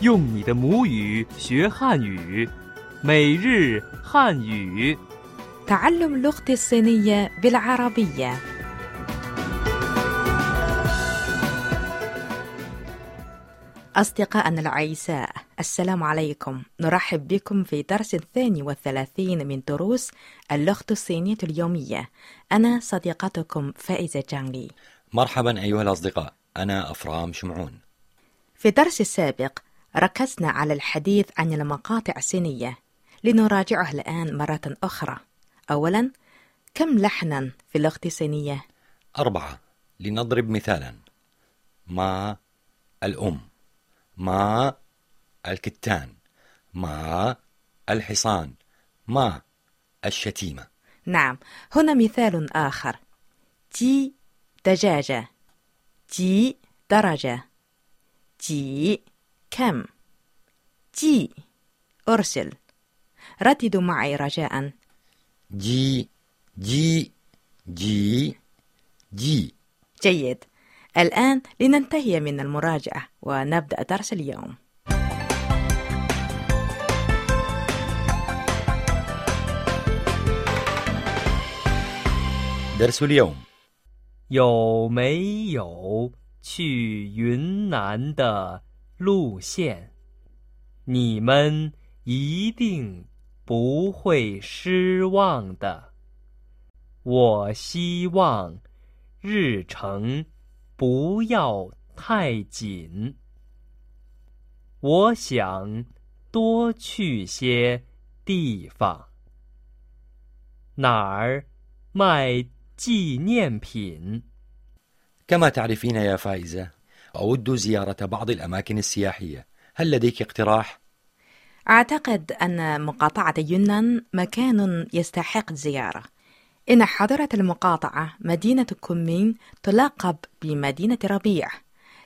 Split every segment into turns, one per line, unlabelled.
用你的母语学汉语，每日汉语。
تعلم لغتي الصينية بالعربية أصدقائنا العيساء السلام عليكم نرحب بكم في درس الثاني والثلاثين من دروس اللغة الصينية اليومية أنا صديقتكم فائزة جانلي
مرحبا أيها الأصدقاء أنا أفرام شمعون
في الدرس السابق ركزنا على الحديث عن المقاطع الصينية لنراجعه الآن مرة أخرى أولا كم لحنا في اللغة الصينية؟
أربعة لنضرب مثالا مع الأم مع الكتان مع الحصان مع الشتيمة
نعم هنا مثال آخر جي دجاجة جي درجة جي كم جي أرسل رددوا معي رجاء
جي جي جي جي
جيد الآن لننتهي من المراجعة ونبدأ درس اليوم
درس اليوم
有没有去云南的路线？你们一定不会失望的。我希望日程不要太紧。我想多去些地方。哪儿卖纪念品？
كما تعرفين يا فائزة أود زيارة بعض الأماكن السياحية هل لديك اقتراح؟
أعتقد أن مقاطعة يونان مكان يستحق الزيارة إن حضرة المقاطعة مدينة كومين تلقب بمدينة ربيع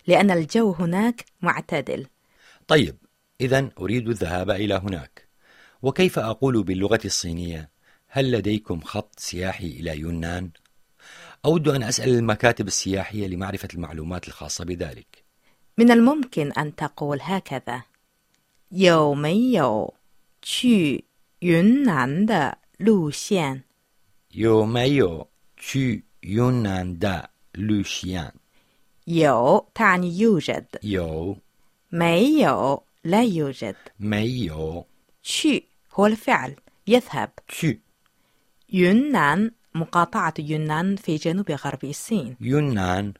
لأن الجو هناك معتدل
طيب إذا أريد الذهاب إلى هناك وكيف أقول باللغة الصينية هل لديكم خط سياحي إلى يونان؟ أود أن أسأل المكاتب السياحية لمعرفة المعلومات الخاصة بذلك
من الممكن أن تقول هكذا 有没有去云南的路线
有没有去云南的路线？
有 تعني يوجد
有
没有 لا يوجد
没有
去 هو الفعل يذهب
去
يونان مقاطعة يونان في جنوب غرب الصين
云南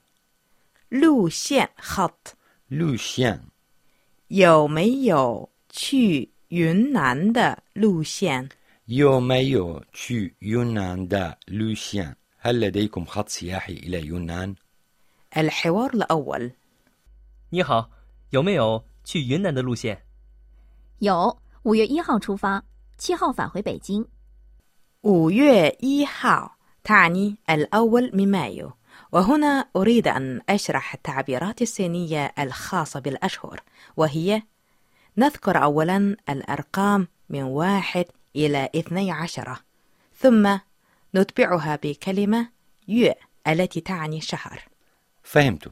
لوشين خط
路线？
有没有去云南的路线？
有没有去云南的路线？هل لديكم خط سياحي إلى يونان؟
الحوار الأول
你好，有没有去云南的路线？
有，五月一号出发，七号返回北京。
5月1号 تعني الأول من مايو وهنا أريد أن أشرح التعبيرات الصينية الخاصة بالأشهر وهي نذكر أولا الأرقام من واحد إلى اثني عشرة ثم نتبعها بكلمة يو التي تعني شهر
فهمت.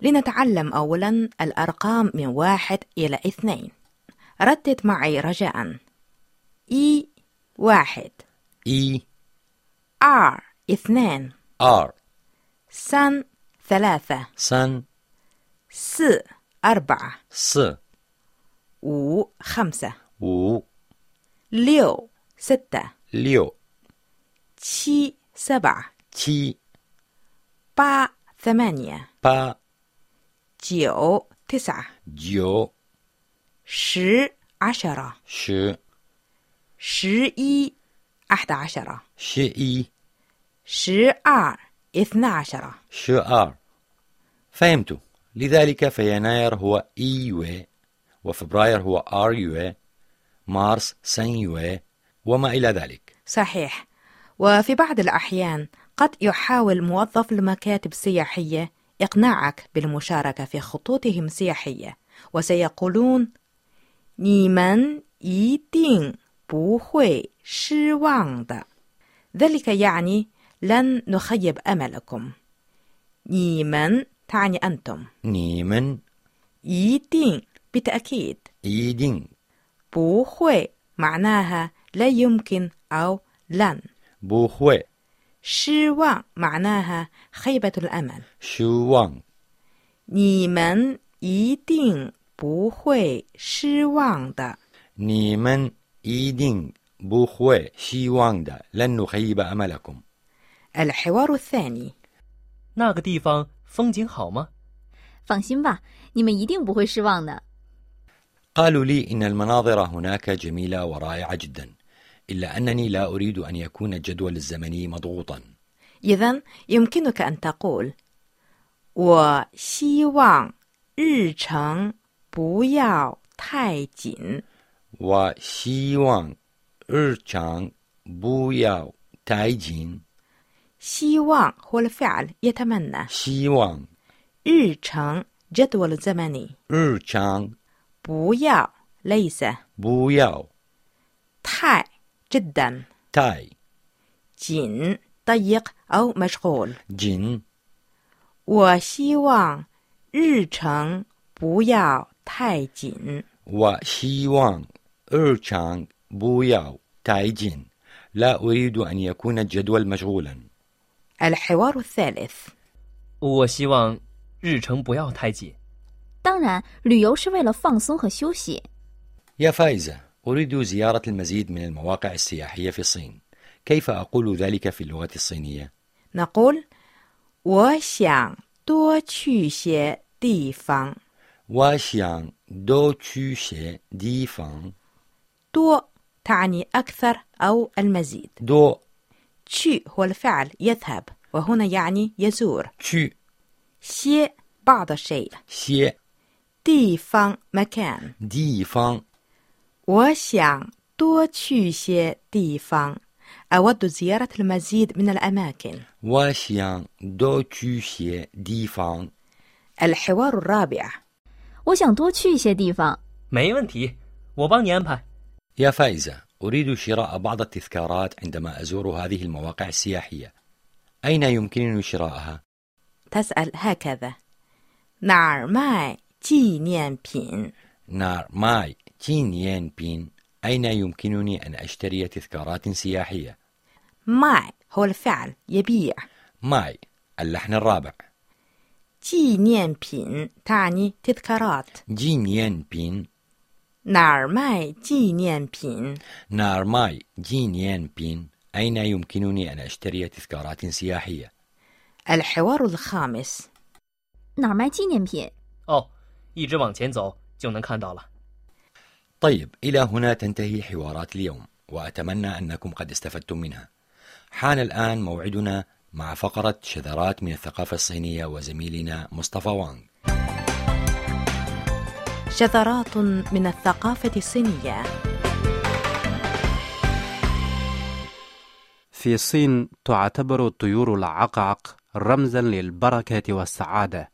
لنتعلم أولا الأرقام من واحد إلى اثنين ردد معي رجاء إي واحد
E
آر اثنان
R
سن ثلاثة
三
س أربعة
四
و خمسة
五
ليو ستة
六
تشي سبعة
七
با ثمانية
八
جيو تسعة
九
شي عشرة
十
شي إي أحد عشرة
十一
شي آر اثنى عشرة
شو آر فهمت لذلك فيناير هو إي يو وفبراير هو آر يو مارس سن يو وما إلى ذلك
صحيح وفي بعض الأحيان قد يحاول موظف المكاتب السياحية إقناعك بالمشاركة في خطوطهم السياحية وسيقولون 你们一定不会失望的 ذلك يعني لن نخيب أملكم 你们 تعني أنتم
نيمن
一定 بالتأكيد
一定
不会 معناها لا يمكن أو لن
不会，
失望 معناها خيبة الأمل
失望，
你们一定不会失望的。
你们一定不会希望的，لن نخيب أملكم。
الحوار الثاني
那个地方风景好吗？
放心吧，你们一定不会失望的。
قالوا لي إن المناظر هناك جميلة ورائعة جدا، إلا أنني لا أريد أن يكون الجدول الزمني مضغوطا.
إذا يمكنك أن تقول 我希望日程不要太紧。
وشيوان إرشان بوياو تايجين
希望 هو الفعل يتمنى
شيوان
日程 جدول زمني
إرشان
不要 ليس
بوياو
太 جدا
تاي
紧 ضيق أو مشغول
جين
我希望日程不要太紧。
وشيوان إرشان بوياو تايجين لا أريد أن يكون الجدول مشغولا
الحوار الثالث
我希望日程不要太紧。
当然，旅游是为了放松和休息。
يا فائزة أريد زيارة المزيد من المواقع السياحية في الصين كيف أقول ذلك في اللغة الصينية؟
نقول 我想多去些地方。
واشيان دو تشي دي فان
多 تعني أكثر أو المزيد
دو
تشي هو الفعل يذهب وهنا يعني يزور
تشي
شي بعض الشيء
些
ديفان مكان
地方，
我想多去些地方 أود زيارة المزيد من الأماكن
我想多去些地方。
الحوار الرابع
我想多去一些地方。
没问题，我帮你安排。
يا فائزة، أريد شراء بعض التذكارات عندما أزور هذه المواقع السياحية. أين يمكنني شراءها؟
تسأل هكذا 哪儿卖纪念品
نار ماي تينيان بين. أين يمكنني أن أشتري تذكارات سياحية؟
ماي هو الفعل يبيع
ماي اللحن الرابع
纪念品 تعني تذكارات
جينيان بين
哪儿卖纪念品？
نار ماي جينيان بين أين يمكنني أن أشتري تذكارات سياحية؟
الحوار الخامس
哪儿卖纪念品？
哦，一直往前走就能看到了。
طيب إلى هنا تنتهي حوارات اليوم وأتمنى أنكم قد استفدتم منها حان الآن موعدنا مع فقرة شذرات من الثقافة الصينية وزميلنا مصطفى وانغ
شذرات من الثقافة الصينية
في الصين تعتبر الطيور العقعق رمزا للبركة والسعادة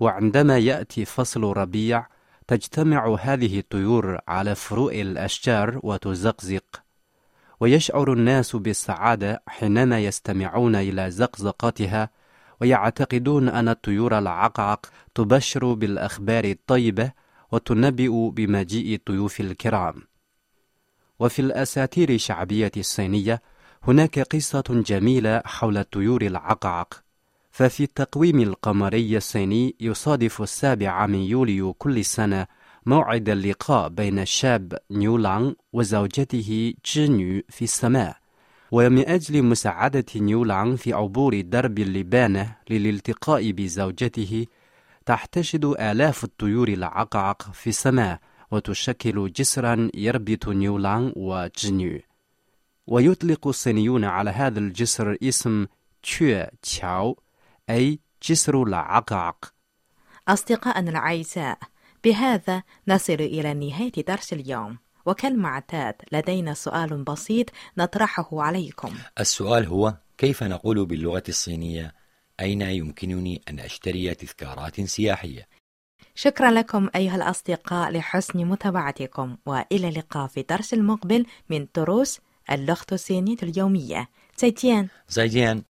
وعندما يأتي فصل ربيع تجتمع هذه الطيور على فروع الأشجار وتزقزق ويشعر الناس بالسعادة حينما يستمعون إلى زقزقتها ويعتقدون أن الطيور العقعق تبشر بالأخبار الطيبة وتنبئ بمجيء الضيوف الكرام وفي الأساطير الشعبية الصينية هناك قصة جميلة حول الطيور العقعق ففي التقويم القمري الصيني يصادف السابع من يوليو كل سنة موعد اللقاء بين الشاب نيو لانغ وزوجته تشينيو في السماء ومن أجل مساعدة نيو لانغ في عبور درب اللبانة للالتقاء بزوجته تحتشد آلاف الطيور العقعق في السماء وتشكل جسرا يربط نيو لانغ وتشينيو ويطلق الصينيون على هذا الجسر اسم تشوى تشاو أي جسر العقعق
أصدقائنا الأعزاء بهذا نصل إلى نهاية درس اليوم وكالمعتاد لدينا سؤال بسيط نطرحه عليكم
السؤال هو كيف نقول باللغة الصينية أين يمكنني أن أشتري تذكارات سياحية؟
شكرا لكم أيها الأصدقاء لحسن متابعتكم وإلى اللقاء في درس المقبل من دروس اللغة الصينية اليومية 再见
زايدين